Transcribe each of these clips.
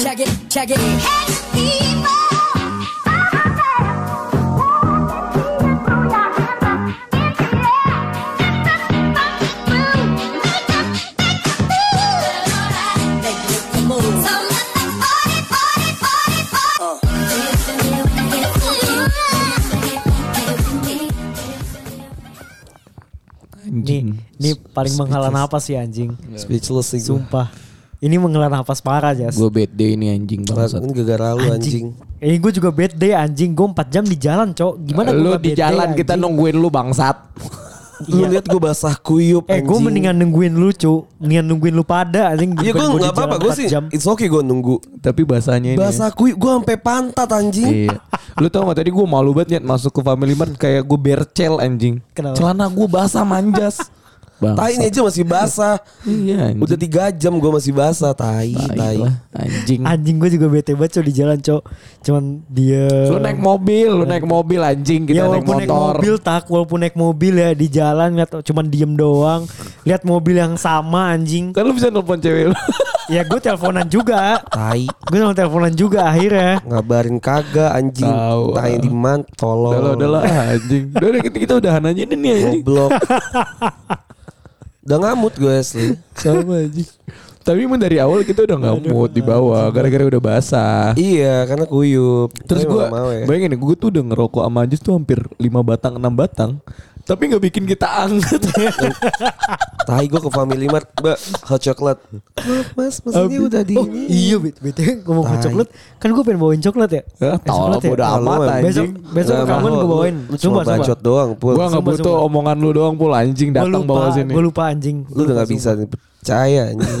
Check it. Make it the move. Nih, nih paling menghela napas sih anjing. Speechless sih gue. Sumpah. Ini menghela napas parah, Jas. Gue bad day ini anjing bangsat. Ini gara-gara lu anjing. Eh gue juga bad day anjing. Gue 4 jam di jalan, Cok. Gimana gua Lu nggak di bad day, jalan kita anjing? nungguin lu bangsat. Lu lihat gue basah kuyup Eh gue mendingan nungguin lu, Cok. Mendingan nungguin lu pada anjing. Iya, Ya gue daripada gua di gak apa-apa jalan gue empat sih jam. It's okay gue nunggu Tapi bahasanya ini. ya. Basah kuyup gue sampai pantat anjing Iya. Lu tau gak tadi gue malu banget Nyet, masuk ke Family Mart kayak gue bercel anjing. Kenapa? Celana gue basah manjas. Tai Bangsat. ini aja masih basah Iya anjing. Udah tiga jam gue masih basah Tai Tai Tai lah, anjing. Anjing gue juga bete banget, Cok, di jalan, Cok. Cuman dia Lu naik mobil, lu naik mobil anjing kita ya naik walaupun naik, motor. mobil tak, walaupun naik mobil ya di jalan lihat cuman diem doang, lihat mobil yang sama anjing. Kan lu bisa nelpon cewek lu. Ya gue teleponan juga. Tai Gue sama teleponan juga akhirnya. Ngabarin kagak anjing Tahu, Tai ah. di man Udah lah, Tolong udah lah anjing. Udah udah, kita, kita udahan aja ini nih anjing. Goblok Udah ngamut gue asli Sama anjing. Tapi emang dari awal kita udah nggak mood di bawah gara-gara udah basah. Iya karena kuyup Terus Tapi gue mau mau ya. bayangin gue tuh udah ngerokok sama Ajis tuh hampir 5 batang 6 batang tapi nggak bikin kita anget. Tai gue ke Family Mart Mbak hot coklat Mas mas ini udah di Oh, iya bet, bete ngomong ke Tai. coklat. Kan gue pengen bawain coklat ya. Ya, Eh, coklat tolong udah amat Tolong, anjing. Besok besok ke Nggak kampus mau, gue lu- bawain. lu Coba Cuma coba. bacot doang pul Gua nggak Sumpah, butuh sumpah. omongan lu doang pul anjing Gue datang lupa, bawa sini. gue lupa anjing. Lu udah gak bisa nih, percaya anjing.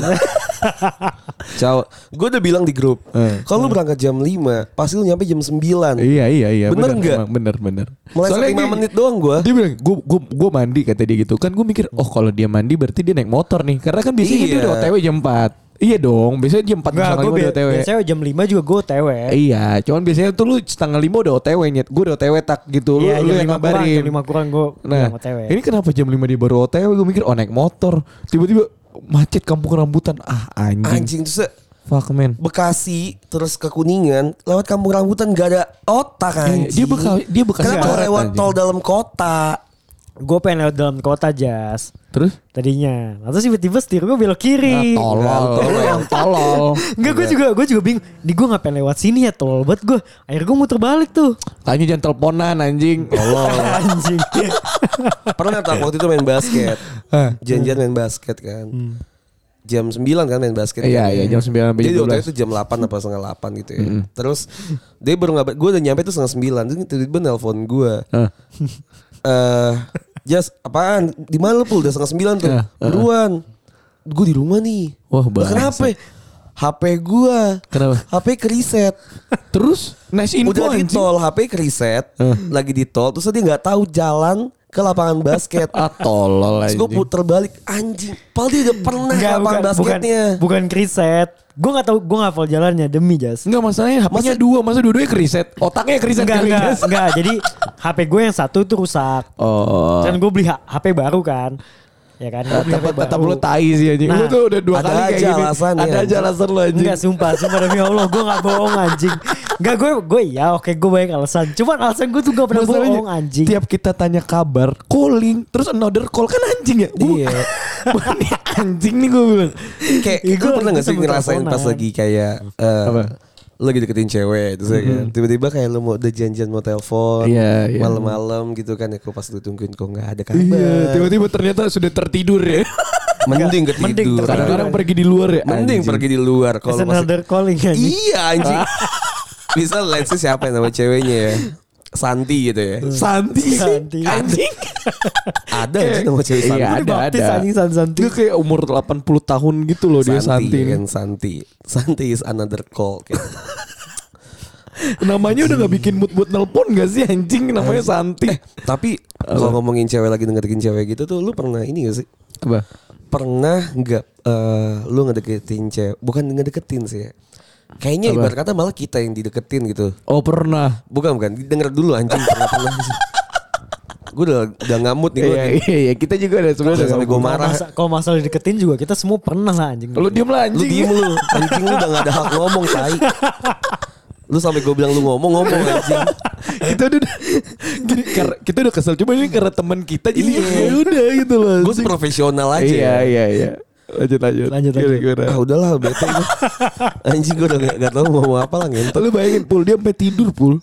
Cao, gue udah bilang di grup, Eh. kalau lu berangkat jam 5, pasti lu nyampe jam 9. Iya iya iya. Bener nggak? emang, Bener bener. Meleset 5 dia- menit doang gue. Dia bilang gue gue gue mandi kata dia gitu kan gue mikir oh kalau dia mandi berarti dia naik motor nih karena kan biasanya Iya. dia udah otw jam 4 iya dong biasanya jam 4 Enggak, jam gue 5 udah otw biasanya jam 5 juga gue tewe. iya cuman biasanya tuh lu setengah 5 udah otw nyet gue udah otw tak gitu lu, lu Iya, jam yang 5 kurang, ngabarin jam 5 kurang gue Nah, ini kenapa jam 5 dia baru OTW? Gue mikir oh naik motor. Tiba-tiba macet kampung rambutan. Ah anjing. Anjing tuh se Fuck man. Bekasi terus ke Kuningan lewat Kampung Rambutan gak ada otak Iya, anjing. dia Beka- dia Bekasi Kenapa coret, lewat anjing. tol dalam kota? Gue pengen lewat dalam kota jas Terus? tadinya. Lalu tiba-tiba setir gue belok Ah, kiri. tolol, lu yang tolol. Enggak Iya. gue juga gue juga bingung. Di gue ngapain lewat sini ya tolol banget gue. Akhirnya gue muter balik tuh. Tanya jangan teleponan anjing. Tolol. Anjing. Pernah tak waktu itu main basket. Hah? Janjian main basket kan. Jam 9 kan main basket. Hmm. Iya, kan, iya, ya. jam 9 sampai Jadi jam waktu 12. itu jam 8 apa setengah 8 gitu ya. Terus dia baru ngabar, gue udah nyampe tuh setengah 9. Terus tiba-tiba nelpon gue. Ah. Eh, Jas, apaan? Di mana lu pul? Udah setengah 9 tuh. Iya, heeh. Beruan. Gue di rumah nih. Wah, "Lah, Kenapa? HP gue. Kenapa? HP keriset. Terus nice info Udah di anjing. Ah. tol, HP keriset. Lagi di tol. Terus dia nggak tahu jalan ke lapangan basket. Ah tolol Terus anjing. gue puter balik anjing. Padahal dia udah Nah, pernah Enggak lapangan bukan, bukan basketnya. bukan kriset. Gue nggak tahu gue nggak hafal jalannya demi jas. Enggak masalahnya hpnya dua, masa dua-duanya keriset. Otaknya keriset Enggak kali, enggak guys. enggak. Jadi HP gue yang satu itu rusak. Oh. Dan gue beli ha- HP baru kan. Ya kan. Gua beli Tetap HP tetap baru. lu tai sih anjing. Lu Nah, tuh udah dua ada kali kayak aja gini. alasan ya, Ada aja anjing. alasan lu anjing. Enggak sumpah, sumpah demi Allah gue gak bohong anjing. Enggak gue, gue ya oke gue banyak alasan. Cuman alasan gue tuh gak pernah Masalahnya, bohong anjing. Tiap kita tanya kabar, calling, terus another call kan anjing ya. Gua, Iya. Ini anjing nih gue bilang. Kayak Iya, gue gua pernah lagi gak sih sama ngerasain pas teleponan. lagi kayak eh, Apa? Lu lagi deketin cewek terus ya kan. Tiba-tiba kayak lu mau udah janjian mau telepon Iya, iya. malam-malam gitu kan ya kok pas lu tungguin kok nggak ada kabar. Iya, tiba-tiba ternyata sudah tertidur ya. Mending ketiduran. Mending Mending, Kadang-kadang pergi di luar ya. pergi di It's luar kalau another masih calling anjing. Iya anjing. Ah. Bisa let's say siapa yang nama ceweknya ya? Santi gitu Hmm. ya. Santi. Santi. Anjing. Ada anjing nama cewek Santi. Iya, ada dibaptis ada. anjing Santi. Dia kayak umur 80 tahun gitu loh dia Santi. kan Santi. Santi is another call. kayak. Namanya udah gak bikin mood buat nelpon gak sih anjing namanya Santi. eh, Tapi kalau ngomongin cewek lagi dengerin cewek gitu tuh lu pernah ini gak sih? Apa? pernah nggak eh, lu ngedeketin cewek bukan ngedeketin sih ya. kayaknya ibarat kata malah kita yang dideketin gitu Oh pernah. bukan bukan denger dulu anjing pernah pernah gue udah udah ngamut nih gue. Iya, iya, iya, kita juga ada sebenarnya. Jangan sampai sama- gua marah. Masa- Kalau masalah deketin juga kita semua pernah lah anjing. Lu diem lah Lu anjing. diem lu, anjing lu udah gak ada hak ngomong tai. Lu sampai gue bilang lu ngomong ngomong anjing. kita udah gini, kar- kita udah kesel cuma ini karena teman kita jadi Iya. ya udah gitu loh. Gue profesional aja. Iya iya iya. Lanjut lanjut. Lanjut, Gimana, lanjut. gimana? Ah udahlah bete gua. Anjing gue udah gak, gak tau mau ngomong apa lah ngentot. Lu bayangin pul dia sampai tidur pul.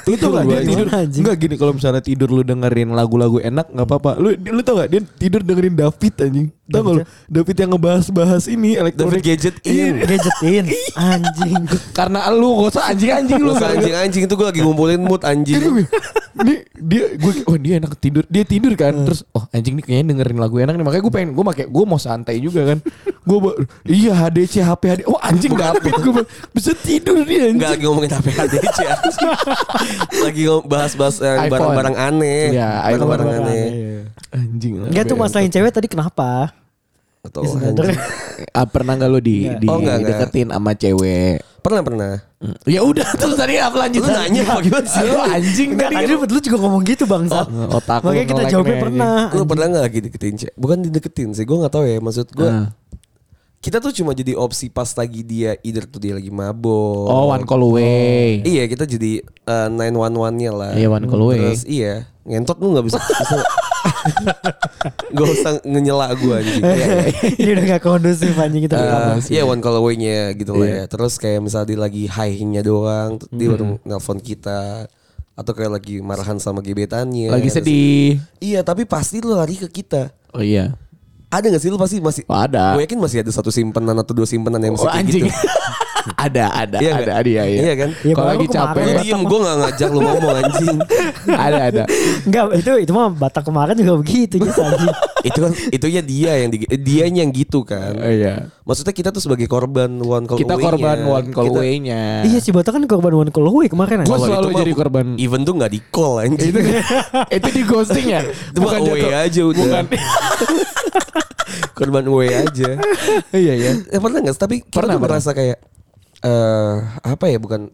Tidur lah dia bayangin. tidur. Gimana, anjing? Enggak gini kalau misalnya tidur lu dengerin lagu-lagu enak nggak apa-apa. Lu lu tau gak dia tidur dengerin David anjing. Tau gak lu? David yang ngebahas-bahas ini David elektronik. Gadget Iya. in. Gadgetin anjing. Iya. Karena lu gak usah anjing-anjing lu. Lu anjing-anjing itu gue lagi ngumpulin mood anjing. Ini ini Iya kan, dia gue oh dia enak tidur dia tidur kan Hmm. terus oh anjing nih kayaknya dengerin lagu enak nih makanya gue pengen gue make gue mau santai juga kan gue ba- iya HDC HP HD oh anjing David gue ba- bisa tidur dia Enggak anjing lagi ngomongin HP HDC anjing. Lagi ngom- bahas-bahas yang iPhone. barang-barang aneh. Iya, iPhone. iya. barang-barang aneh. anjing lah Enggak tuh Ben. masalahin cewek tadi kenapa? Atau Iya, Sebenarnya anjing. Ah, pernah gak lo di, di Oh, enggak, enggak. deketin sama cewek Pernah pernah. Hmm. ya udah terus tadi apa lanjut Lu nanya Iya. apa gimana sih? Lu Iya, anjing Enggak, tadi tadi Kan lu juga ngomong gitu Iya. bangsat. Oh, otak lu Makanya kita nge-lag jawabnya nih, pernah. Lu pernah gak lagi deketin cewek? Bukan dideketin sih, gue gak tahu ya maksud gue. Ah. Kita tuh cuma jadi opsi pas lagi dia, either tuh dia lagi mabok. oh one call away Iya kita jadi nine one one nya lah. Iya, one call away. Terus iya ngentot lu nggak bisa. bisa gak usah ngenyela gue anjing. Iya, iya. Ini udah gak kondusif anjing kita. Eh, ya. Iya one call away nya gitu Iya. lah ya. Terus kayak misalnya dia lagi high nya doang, terus Hmm. dia baru nelpon kita atau kayak lagi marahan sama gebetannya. lagi Terus- sedih Iya tapi pasti lu lari ke kita. oh iya Ada gak sih lu pasti masih Oh, ada. Gue yakin masih ada satu simpenan atau dua simpenan yang masih Oh, kayak anjing. gitu. ada, ada, Iya ada, nggak? ada, iya, iya. Iya kan? Iya, Kalau baru lagi kemarin capek, Lu diem gue gak ngajak lu ngomong anjing ada, ada. Enggak, itu itu mah Batak kemarin juga begitu Jis, anjing. Eh. itu kan itunya dia yang di, dia yang gitu kan. Iya. Maksudnya kita tuh sebagai korban one call Kita away-nya. korban one E call Kita- away-nya. Iya si Batak kan korban one call away kemarin Gua anjing. Kalau selalu itu mah jadi korban. Even tuh nggak di call anjing. itu, kan itu di ghosting ya? Itu mah away jatuh- aja udah. Bukan. korban away aja. iya, iya. Ya, pernah nggak? Tapi kita Pernah, tuh pernah. merasa kayak eh apa ya bukan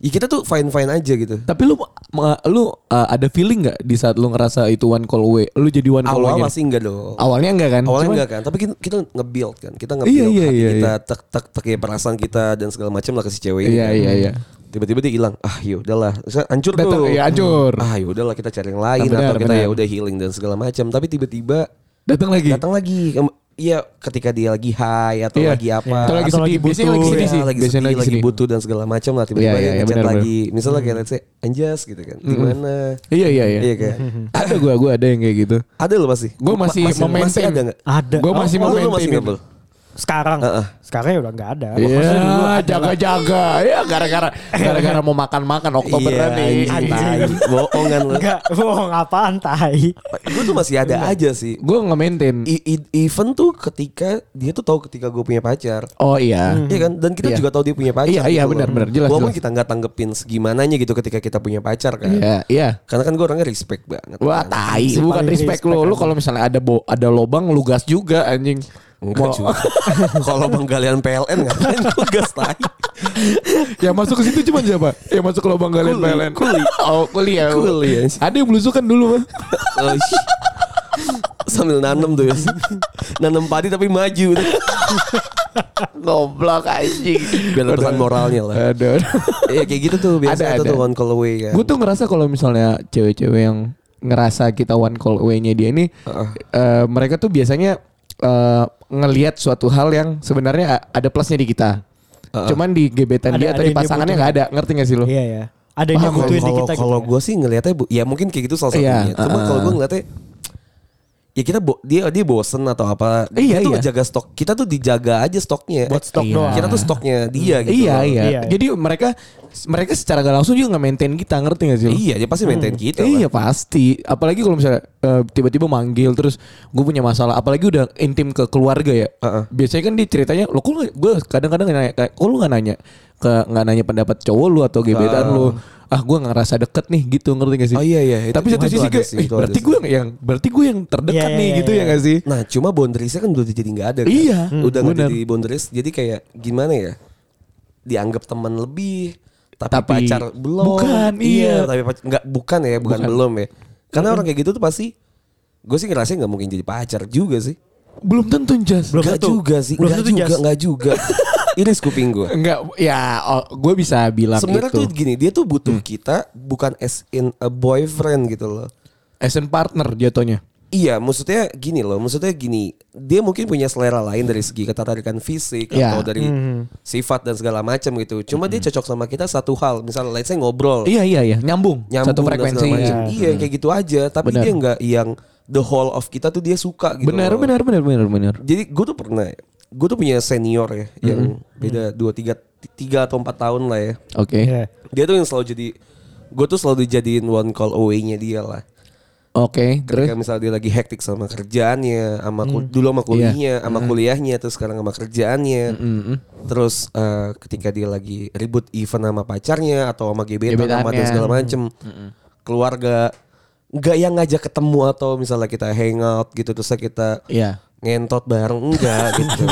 Ya kita tuh fine fine aja gitu. Tapi lu ma- lu uh, ada feeling nggak di saat lu ngerasa itu one call away? Lu jadi one call Awal away-nya? masih enggak dong. Awalnya enggak kan? Awalnya Cuman- enggak kan, tapi kita, kita nge-build kan, kita nge-build Iya, iya, hati iya, iya. kita, tek tek tek ya, perasaan kita dan segala macam lah ke si cewek ini. Iya, kan. iya, iya. Tiba-tiba dia hilang. Ah, ya udahlah. Saya Hancur Datang, tuh. iya, hancur. Ah, ya udahlah kita cari yang lain Benar, atau kita benar. ya udah healing dan segala macam. Tapi tiba-tiba Datang lagi. datang lagi. Em, Iya, ketika dia lagi high atau Iya. lagi apa. Atau lagi Atau sedih. lagi butuh. Biasanya lagi sedih Iya, sih. lagi Biasanya sedih, lagi lagi sedih. butuh dan segala macam lah tiba-tiba Iya, iya, dia iya, ngechat benar, lagi. Misalnya kayak let's say anjas gitu kan. Gimana? Iya, iya, iya. Iya kan. Ada gua, gua ada yang kayak gitu. Ada lo pasti. Gua masih memaintain. masih ada enggak? Ada. Gua Oh, masih oh, mau Lu, lu maintain masih itu. ngebel. sekarang Heeh. sekarang ya udah nggak ada. Eh, Maksudnya dulu Iya, ada lah. jaga-jaga. Ya gara-gara gara-gara mau makan-makan Oktoberan nih. Oh, anjing, Anjing. tai. Bohongan lu. Enggak, bohong apaan tai. Gue tuh masih ada aja sih. Gue nge-maintain. I, i- even tuh ketika dia tuh tahu ketika gue punya pacar. Oh iya. Iya kan? Dan kita Iya. juga tahu dia punya pacar. gitu Iya, iya, loh. benar, benar. Jelas, Walaupun jelas. kita nggak tanggepin segimananya gitu ketika kita punya pacar kan. Iya, iya. Karena kan gue orangnya respect banget. Wah kan. tai, Si bukan paling respect respect lo. Lu anjing. kalau misalnya ada bo ada lobang lu gas juga anjing. Enggak Mau- juga. Kalau penggalian PLN ngapain gue gas tai. Yang masuk ke situ cuma siapa? Yang masuk ke lobang galian Kuli, PLN. kuli. Oh, kuli ya. Kuli, anjing. Ada yang belusukan dulu, Mas. Oh, sh- Sambil nanem tuh ya. Nanem padi tapi maju. Goblok anjing. Biar ada pesan moralnya lah. Aduh. Iya kayak gitu tuh biasa Ada, ada. itu tuh one call away kan. Gue tuh ngerasa kalau misalnya cewek-cewek yang ngerasa kita one call away-nya dia ini eh, mereka tuh biasanya eh, ngelihat suatu hal yang sebenarnya a- ada plusnya di kita. Cuman di gebetan Ada- dia atau ada di yang dia pasangannya butuhin. nggak ada, ngerti gak sih lo? Iya ya. Ada yang Ah, Kalau- butuhin di kalau kita gitu kalau ya. gue sih ngelihatnya bu- ya mungkin kayak gitu salah satunya. Iya, Cuma uh-uh. kalau gue ngelihatnya ya kita bo- dia dia bosen atau apa Iya, dia tuh iya. ngejaga stok kita tuh dijaga aja stoknya Buat stok Eh, doang. kita tuh stoknya dia gitu Iya, loh. iya Iya, iya. Jadi mereka mereka secara gak langsung juga nggak maintain kita, ngerti gak sih lo? iya dia pasti maintain kita lah. Iya pasti, apalagi kalau misalnya eh, tiba-tiba manggil terus gue punya masalah, apalagi udah intim ke keluarga ya. Heeh. Biasanya kan dia ceritanya, lo kok gue kadang-kadang nanya, kayak, kok lu nggak nanya ke nggak nanya pendapat cowok lu atau gebetan lu? Ah gue nggak ngerasa deket nih gitu ngerti gak sih? Oh, iya, iya. Itu- Tapi satu itu sisi ada kayak, sih, "Ih, itu ada berarti sih." gue yang berarti gue yang terdekat Iya, nih iya, gitu iya, ya gak sih? nah cuma boundariesnya kan udah jadi nggak ada kan? Iya, udah nggak benar. jadi boundaries jadi kayak gimana ya dianggap teman lebih tapi, Tapi pacar belum bukan, iya. tapi pac- nggak bukan ya bukan, belum ya Karena orang kayak gitu tuh pasti gue sih ngerasa nggak mungkin jadi pacar juga sih. Belum tentu jas. Belum Gak tentu. juga sih, Belum gak tentu, juga, Jas. gak juga. Iris kuping gue. Enggak, ya gue bisa bilang gitu. Sebenarnya itu. tuh gini, dia tuh butuh kita bukan as in a boyfriend gitu loh. As an partner jatuhnya. Iya, maksudnya gini loh, maksudnya gini, dia mungkin punya selera lain dari segi ketertarikan fisik Iya. Hmm. atau dari sifat dan segala macam gitu. Cuma dia cocok sama kita satu hal, misalnya let's say ngobrol, Iya iya iya, nyambung, nyambung satu dan frekuensi. segala macam. Iya, kayak gitu aja, tapi Benar. dia nggak yang the whole of kita tuh dia suka gitu. Benar loh. benar benar benar benar. Jadi gue tuh pernah, gue tuh punya senior ya, Hmm. yang beda dua tiga tiga atau empat tahun lah ya. Oke. Iya. Dia tuh yang selalu jadi, gue tuh selalu dijadiin one call away-nya dia lah. Oke, terus Hmm. Iya. Ketika misalnya dia lagi hektik sama kerjaannya, sama kul- dulu sama kuliahnya, sama kuliahnya, terus sekarang sama kerjaannya. Hmm, Terus eh, ketika dia lagi ribut event sama pacarnya atau sama gebetan sama dan Gebetannya. Hmm, segala macem, keluarga nggak yang ngajak ketemu atau misalnya kita hangout gitu terus kita Iya. ngentot bareng enggak gitu.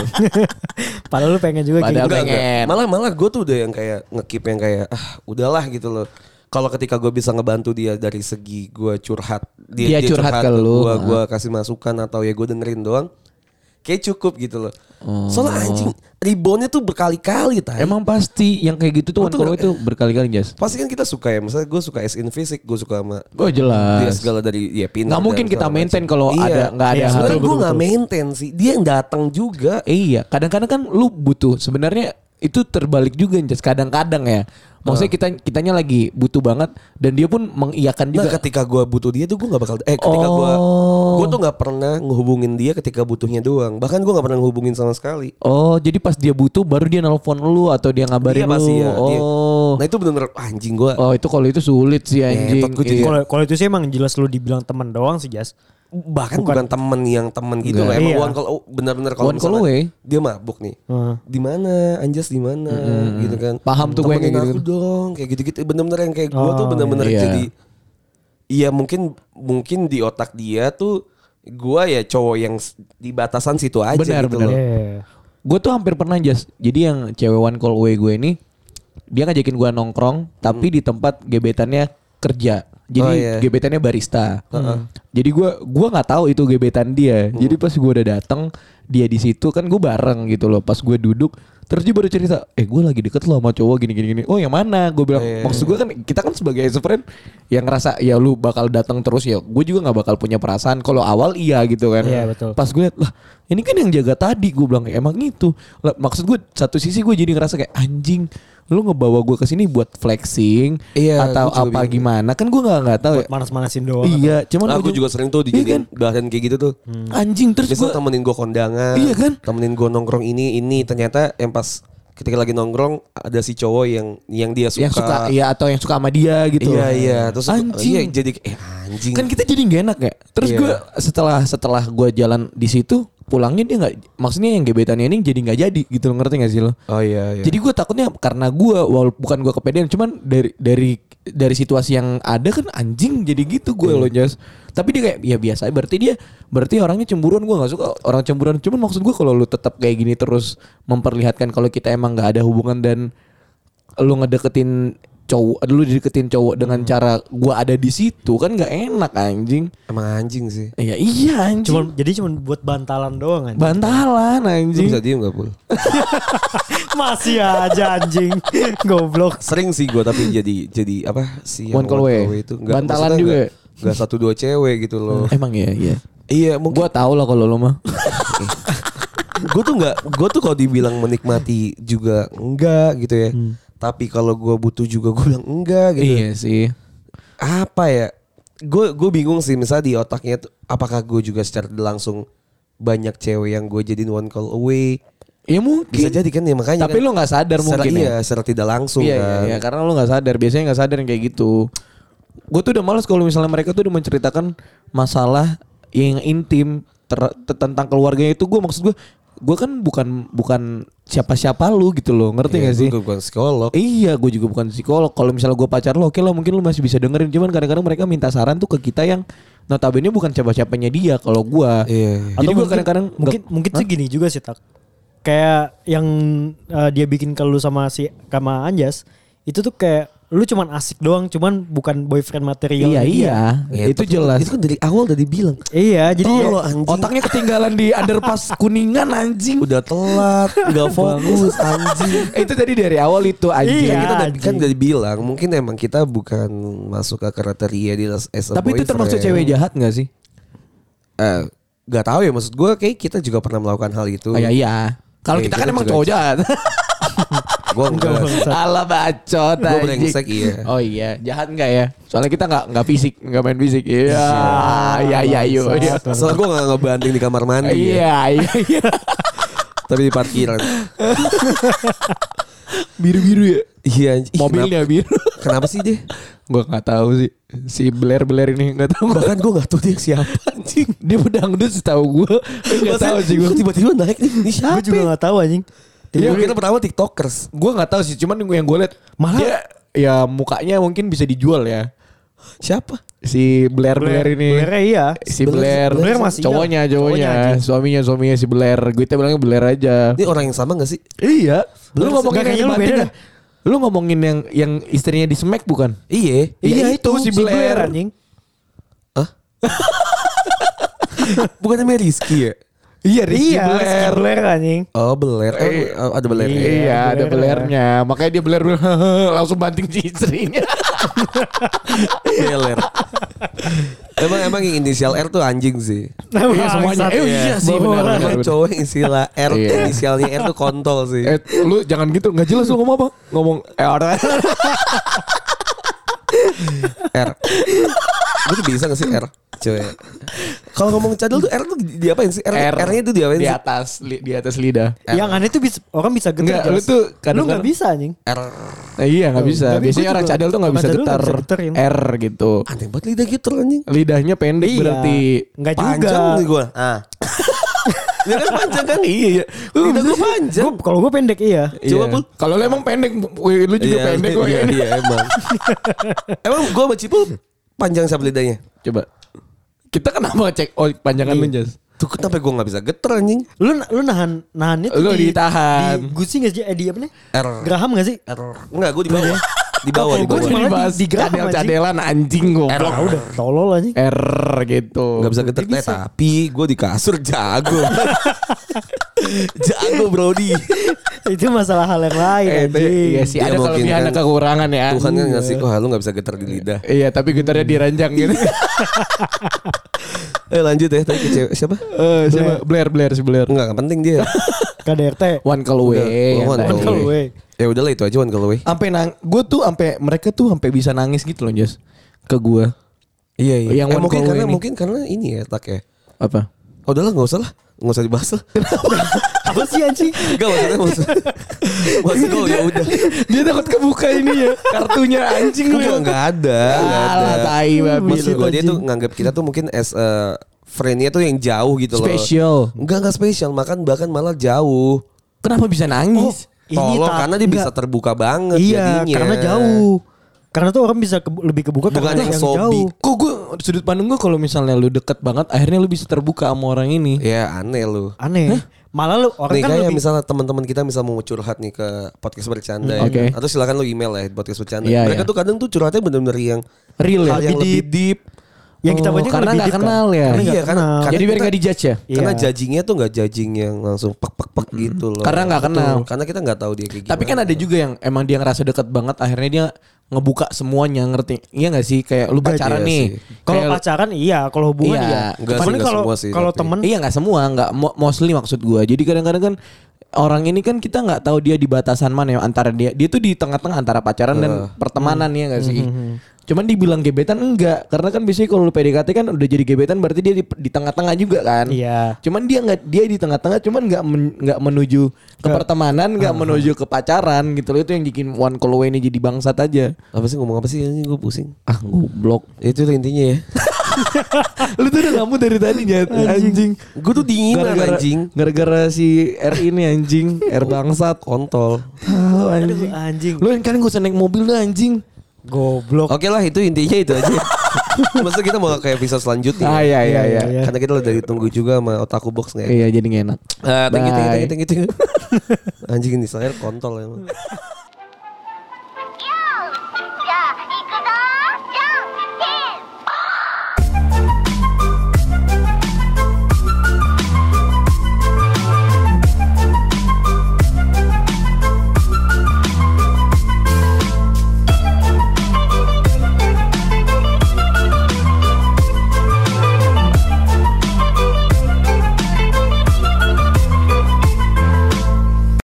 Padahal lu pengen juga Padahal gitu. Enggak, enggak. pengen. Malah malah gue tuh udah yang kayak ngekip yang kayak ah udahlah gitu loh. Kalau ketika gue bisa ngebantu dia dari segi gue curhat, Dia curhat ke lu. gue gua kasih masukan atau ya gue dengerin doang, kayak cukup gitu loh. Soalnya anjing reboundnya tuh berkali-kali Oh. tadi. Emang pasti yang kayak gitu tuh one Betul. call away tuh berkali-kali jas. pasti kan kita suka ya, misalnya gue suka as in fisik, gue suka sama Gue dia jelas. segala dari ya pintar. Nggak mungkin dan kita segala maintain macam. kalau Iya. ada nggak ya, ada Iya, hal. Sebenarnya Betul, gue betul, nggak betul. maintain sih, dia yang datang juga. Iya, kadang-kadang kan lu butuh. Sebenarnya itu terbalik juga jas. Kadang-kadang ya. Maksudnya kita kitanya lagi butuh banget dan dia pun mengiyakan Nah juga. ketika gue butuh dia tuh gue gak bakal Eh ketika gue Oh. Gue tuh gak pernah ngehubungin dia ketika butuhnya doang Bahkan gue gak pernah ngehubungin sama sekali Oh, jadi pas dia butuh baru dia nelpon lu atau dia ngabarin Dia pasti lu. ya dia- oh. Nah itu bener-bener ah, anjing gue Oh, itu kalau itu sulit sih anjing. Ngetot gua jadi- Iya. Kalau kalau itu sih emang jelas lu dibilang teman doang sih Jas. Bahkan bukan, temen yang temen gitu loh Enggak. Emang Iya. one call oh, Bener-bener kalau One call misalnya away. Dia mabuk nih Heeh. di mana Anjas di mana gitu kan Paham tuh gue yang Temenin kayak kan. aku dong kayak gitu-gitu bener-bener yang kayak gue Oh, tuh bener-bener iya. jadi iya mungkin mungkin di otak dia tuh gue ya cowok yang s- di batasan situ aja Benar, gitu benar. loh Iya. Gue tuh hampir pernah jas. Jadi yang cewek one call away gue ini dia ngajakin gue nongkrong tapi di tempat gebetannya kerja. Jadi Hmm. Oh, iya. gebetannya barista. Jadi gue gua nggak tahu itu gebetan dia. Hmm. Jadi pas gue udah dateng dia di situ kan gue bareng gitu loh. Pas gue duduk terus dia baru cerita, eh gue lagi deket loh sama cowok gini gini gini. Oh yang mana? Gue bilang iya, maksud gue kan kita kan sebagai as a friend yang ngerasa ya lu bakal datang terus ya. Gue juga nggak bakal punya perasaan. Kalau awal iya gitu kan. Iya, betul. Pas gue liat lah ini kan yang jaga tadi gue bilang emang itu. Lah, maksud gue satu sisi gue jadi ngerasa kayak anjing lu ngebawa gue ke sini buat flexing Iya, atau gua juga apa bingung. gimana kan gue nggak nggak tahu ya. Manas-manasin doang. iya cuman Nah, ujung- aku juga sering Iya tuh kan? dijadiin bahan kayak gitu tuh. anjing terus Biasanya gue temenin gue kondangan, Iya kan? temenin gue nongkrong ini ini. Ternyata yang pas ketika lagi nongkrong ada si cowok yang yang dia suka. yang suka ya atau yang suka sama dia gitu Iya iya. Terus Anjing. iya, jadi eh, anjing. kan kita jadi nggak enak ya terus Iya. gue setelah setelah gue jalan di situ pulangnya dia nggak maksudnya yang gebetannya ini jadi nggak jadi gitu loh ngerti gak sih lo oh iya iya. Jadi gue takutnya karena gue walaupun bukan gue kepedean cuman dari dari dari situasi yang ada kan anjing jadi gitu Iya. gue loh Jas. Tapi dia kayak ya biasa aja. berarti dia berarti orangnya cemburuan gue nggak suka orang cemburuan. Cuman maksud gue kalau lu tetap kayak gini terus memperlihatkan kalau kita emang nggak ada hubungan dan lu ngedeketin cowok lu dideketin cowok dengan Hmm. cara gua ada di situ kan nggak enak anjing. emang anjing sih. Ya iya anjing. Cuman jadi cuman buat bantalan doang anjing. bantalan Lu anjing. bisa gitu. diem gak pul? Masih aja anjing. Goblok. Sering sih gue tapi jadi jadi apa sih One call away. itu Nggak- Bantalan maksudnya juga. nggak- nggak satu dua cewek gitu loh. Emang ya iya. iya mungkin Gua tau lah kalau lo mah. gue tuh nggak gue tuh kalau dibilang menikmati juga enggak gitu ya tapi kalau gue butuh juga gue bilang enggak gitu Hmm. iya sih. apa ya gue gue bingung sih misalnya di otaknya tuh apakah gue juga secara langsung banyak cewek yang gue jadiin one call away Ya mungkin. bisa jadi kan ya makanya Tapi kan, lo nggak sadar secara, mungkin iya secara tidak ya. langsung Iya, kan iya, iya, karena lo nggak sadar. Biasanya nggak sadar yang kayak gitu. Gue tuh udah males kalau misalnya mereka tuh udah menceritakan masalah yang intim ter- te- tentang keluarganya itu gue maksud gue gue kan bukan bukan siapa-siapa lu gitu loh ngerti Iya, nggak sih gue bukan psikolog Iya, gue juga bukan psikolog. Kalau misalnya gue pacar lo, oke lah mungkin lo masih bisa dengerin. Cuman kadang-kadang mereka minta saran tuh ke kita yang notabene bukan siapa-siapanya dia. Kalau gue, Iya, iya. jadi gue mungkin- kadang-kadang nggak- mungkin mungkin sih gini juga sih tak. Kayak yang eh, dia bikin ke lu sama si sama Anjas itu tuh kayak lu cuman asik doang cuman bukan boyfriend material Iya dia. iya, itu jelas. Itu kan dari awal udah dibilang. iya jadi Tolol ya- lo anjing. Otaknya ketinggalan di underpass kuningan anjing. udah telat, nggak fokus anjing. Eh, itu tadi dari awal itu anjing. Iya. Kan kita udah, anjing. kan udah dibilang mungkin emang kita bukan masuk ke kriteria di as as a Tapi itu termasuk boyfriend. cewek jahat gak sih? Eh, nggak tahu ya maksud gue kayak kita juga pernah melakukan hal Oh, itu. iya iya. Kalau Iya, kita kan kita emang juga- cowok jahat. Gue enggak. Ala bacot Gua anjing. brengsek, iya. Oh iya, jahat enggak ya? Soalnya kita enggak enggak fisik, enggak main fisik. Iya. Iya iya iya. iya. Soalnya gue gak ngebanding di kamar mandi ya, Iya iya iya. Tapi di parkiran Biru-biru ya. Iya anjing. Ih, Mobilnya biru. kenapa, kenapa sih dia? Gua nggak tahu sih. Si Blair Blair ini nggak tahu. Bahkan gue gak tahu dia siapa anjing Dia pedangdut setahu gue. Gak tahu sih gue. Gua Tiba-tiba naik nih Ini gue siapa? juga nggak tahu anjing Iya, Iya. kita pertama tiktokers Gue nggak tahu sih. Cuman yang gue liat Malah- dia ya mukanya mungkin bisa dijual ya. Siapa? Si Blair Blair, ini. Blairnya iya Si Blair- Blair, Blair masih cowoknya, ada. Cowoknya cowoknya, anjing. suaminya, suaminya si Blair. Gue tuh bilangnya Blair aja. Ini orang yang sama gak sih? Iya. Lu Blair- ngomongin Kayaknya yang lu beda dibanting dah. ya? Lu ngomongin yang yang istrinya di smack bukan? Iya Iya, itu, si Blair. anjing Hah? Bukan namanya Rizky ya? Iya, Rizky iya si Blair. Blair anjing Oh beler Eh, Ada beler Iya, ya? ada Blair. belernya. Makanya dia beler langsung banting si istrinya. Beler Iya, Emang emang yang inisial R tuh anjing sih Iya, semuanya. Bangsat. Eh, iya sih, Bawa benar, orang. benar. Emang cowok yang inisial R Iya. Inisialnya R tuh kontol sih eh, lu jangan gitu, nggak jelas lu ngomong apa? Ngomong eh orang. R Gue tuh bisa gak sih R? Cewek Kalau ngomong cadel tuh R tuh diapain sih? R, R nya tuh diapain di sih? atas li- di atas lidah. yang aneh tuh bisa orang bisa getar Enggak, lu tuh lu kadang-kadang- nggak bisa anjing R Nah, iya nggak bisa. Tapi gua Biasanya juga- orang cadel tuh nggak orang bisa cadel nggak getar bisa getarin. R gitu. Aneh banget lidah gitu anjing Lidahnya pendek Iya. berarti. Nggak Panjang juga. nih gue ah. Dia kan panjang kan Iya iya Lidah gue panjang Gua kalau gue pendek iya Coba, Iya. Pul. Kalau lu emang pendek, wih, lu juga pendek kok ya. iya, ini. iya, emang Emang gue sama Cipul Panjang sama lidahnya Coba. Kita kenapa cek oh Iya. panjangan lu, Jas? Tuh kenapa gue gak bisa geter anjing lu lu nahan nahannya tuh Lu di- ditahan. di gusi nggak sih eh, di apa nih R geraham nggak sih R Enggak gue di bawah Di bawah di Gue Gua bawah cuma- jadi malah di- bahas di geram, cadel-cadelan anjing goblok. Ah, udah tolol anjing R gitu. Gak bisa geter Eh, Tapi gue di kasur jago Jago Brody itu masalah hal yang lain Eh, itu- anjing iya sih Dia ada mungkin kelebihan ada kan- kekurangan ya. Tuhan kan ngasih Wah lu gak bisa geter di lidah Iya, tapi gitarnya diranjang gitu. Eh lanjut ya Tadi ke cewek siapa? Eh, siapa? Blair, Blair, si Blair. Enggak gak penting dia KDRT One call away. Udah, yang one tadi. call One call away. Ya udahlah itu aja One Call Away Ampe nang, gue tuh ampe mereka tuh ampe bisa nangis gitu loh, Jas. Ke gue. Iya iya. Yang Yang eh, one mungkin call karena away ini. mungkin karena ini ya tak ya. Apa? Oh, udahlah nggak usah lah, nggak usah dibahas lah. apa sih anjing Enggak maksudnya maksud. Maksud gue ya udah. Dia takut kebuka ini ya. Kartunya anjing lu. Enggak enggak ada, enggak ada. Alah, tai babi Maksud lu. gue dia tuh nganggap kita tuh mungkin as a friend-nya tuh yang jauh gitu loh. Special. Enggak enggak spesial, makan bahkan malah jauh. Kenapa bisa nangis? Oh, Ini Tolong tak- karena dia bisa enggak. terbuka banget iya jadinya. karena jauh karena tuh orang bisa ke- lebih kebuka Bukan karena yang yang sobi. jauh Kok gue sudut pandang gue kalau misalnya lu deket banget, akhirnya lu bisa terbuka sama orang ini. Ya aneh lu. aneh malah lu orang Nih kan kayak lebih misalnya teman-teman kita misal mau curhat nih ke podcast bercanda Hmm, ya. oke. atau silakan lu email ya podcast bercanda. Iya, Mereka iya. tuh kadang tuh curhatnya bener-bener yang Real ya? hal yang lebih deep. yang Oh, kita baca kan karena lebih nggak deep kan. kenal ya. Karena nggak Iya, karena- kenal. karena- Jadi biar kita- gak dijudge ya? Iya. Karena judgingnya tuh nggak judging yang langsung pek pek pek gitu loh. Karena nggak Betul. kenal. Karena kita nggak tahu dia kayak gimana. Tapi kan ada juga yang emang dia ngerasa deket banget akhirnya dia ngebuka semuanya ngerti. Iya gak sih? Kayak lu pacaran iya nih. sih. kalau Kayak- pacaran iya kalau hubungan Iya. iya Enggak Cuman sih, enggak kalau semua sih, kalau tapi- temen Iya nggak semua, nggak mo- mostly maksud gua. Jadi kadang-kadang kan orang ini kan kita nggak tahu dia di batasan mana ya antara dia. Dia tuh di tengah-tengah antara pacaran dan pertemanan ya nggak sih. Cuman dibilang gebetan enggak, karena kan biasanya kalau lu PDKT kan udah jadi gebetan berarti dia di, di tengah-tengah juga kan. Iya. Cuman dia nggak dia di tengah-tengah, cuman nggak men- nggak menuju ke pertemanan, nggak menuju ke pacaran gitu loh. Itu yang bikin one call away ini jadi bangsat aja. apa sih ngomong apa sih ini gue pusing. Ah goblok. Itu tuh intinya ya. lu tuh udah ngamu dari tadi Jat. anjing. gue tuh dinginan gara-gara anjing. gara-gara si R ini anjing R bangsat Kontol. Tahu, anjing Aduh, anjing lu yang kalian gak usah naik mobil dah anjing goblok Oke lah itu intinya itu aja. Maksudnya kita mau ke episode selanjutnya. ah ya ya ya Iya. Karena kita udah ditunggu juga sama otaku box nggak ya? iya jadi gak enak Eh, thank you, thank you, Bye. thank you, thank you, thank you. Anjing ini saya kontol emang.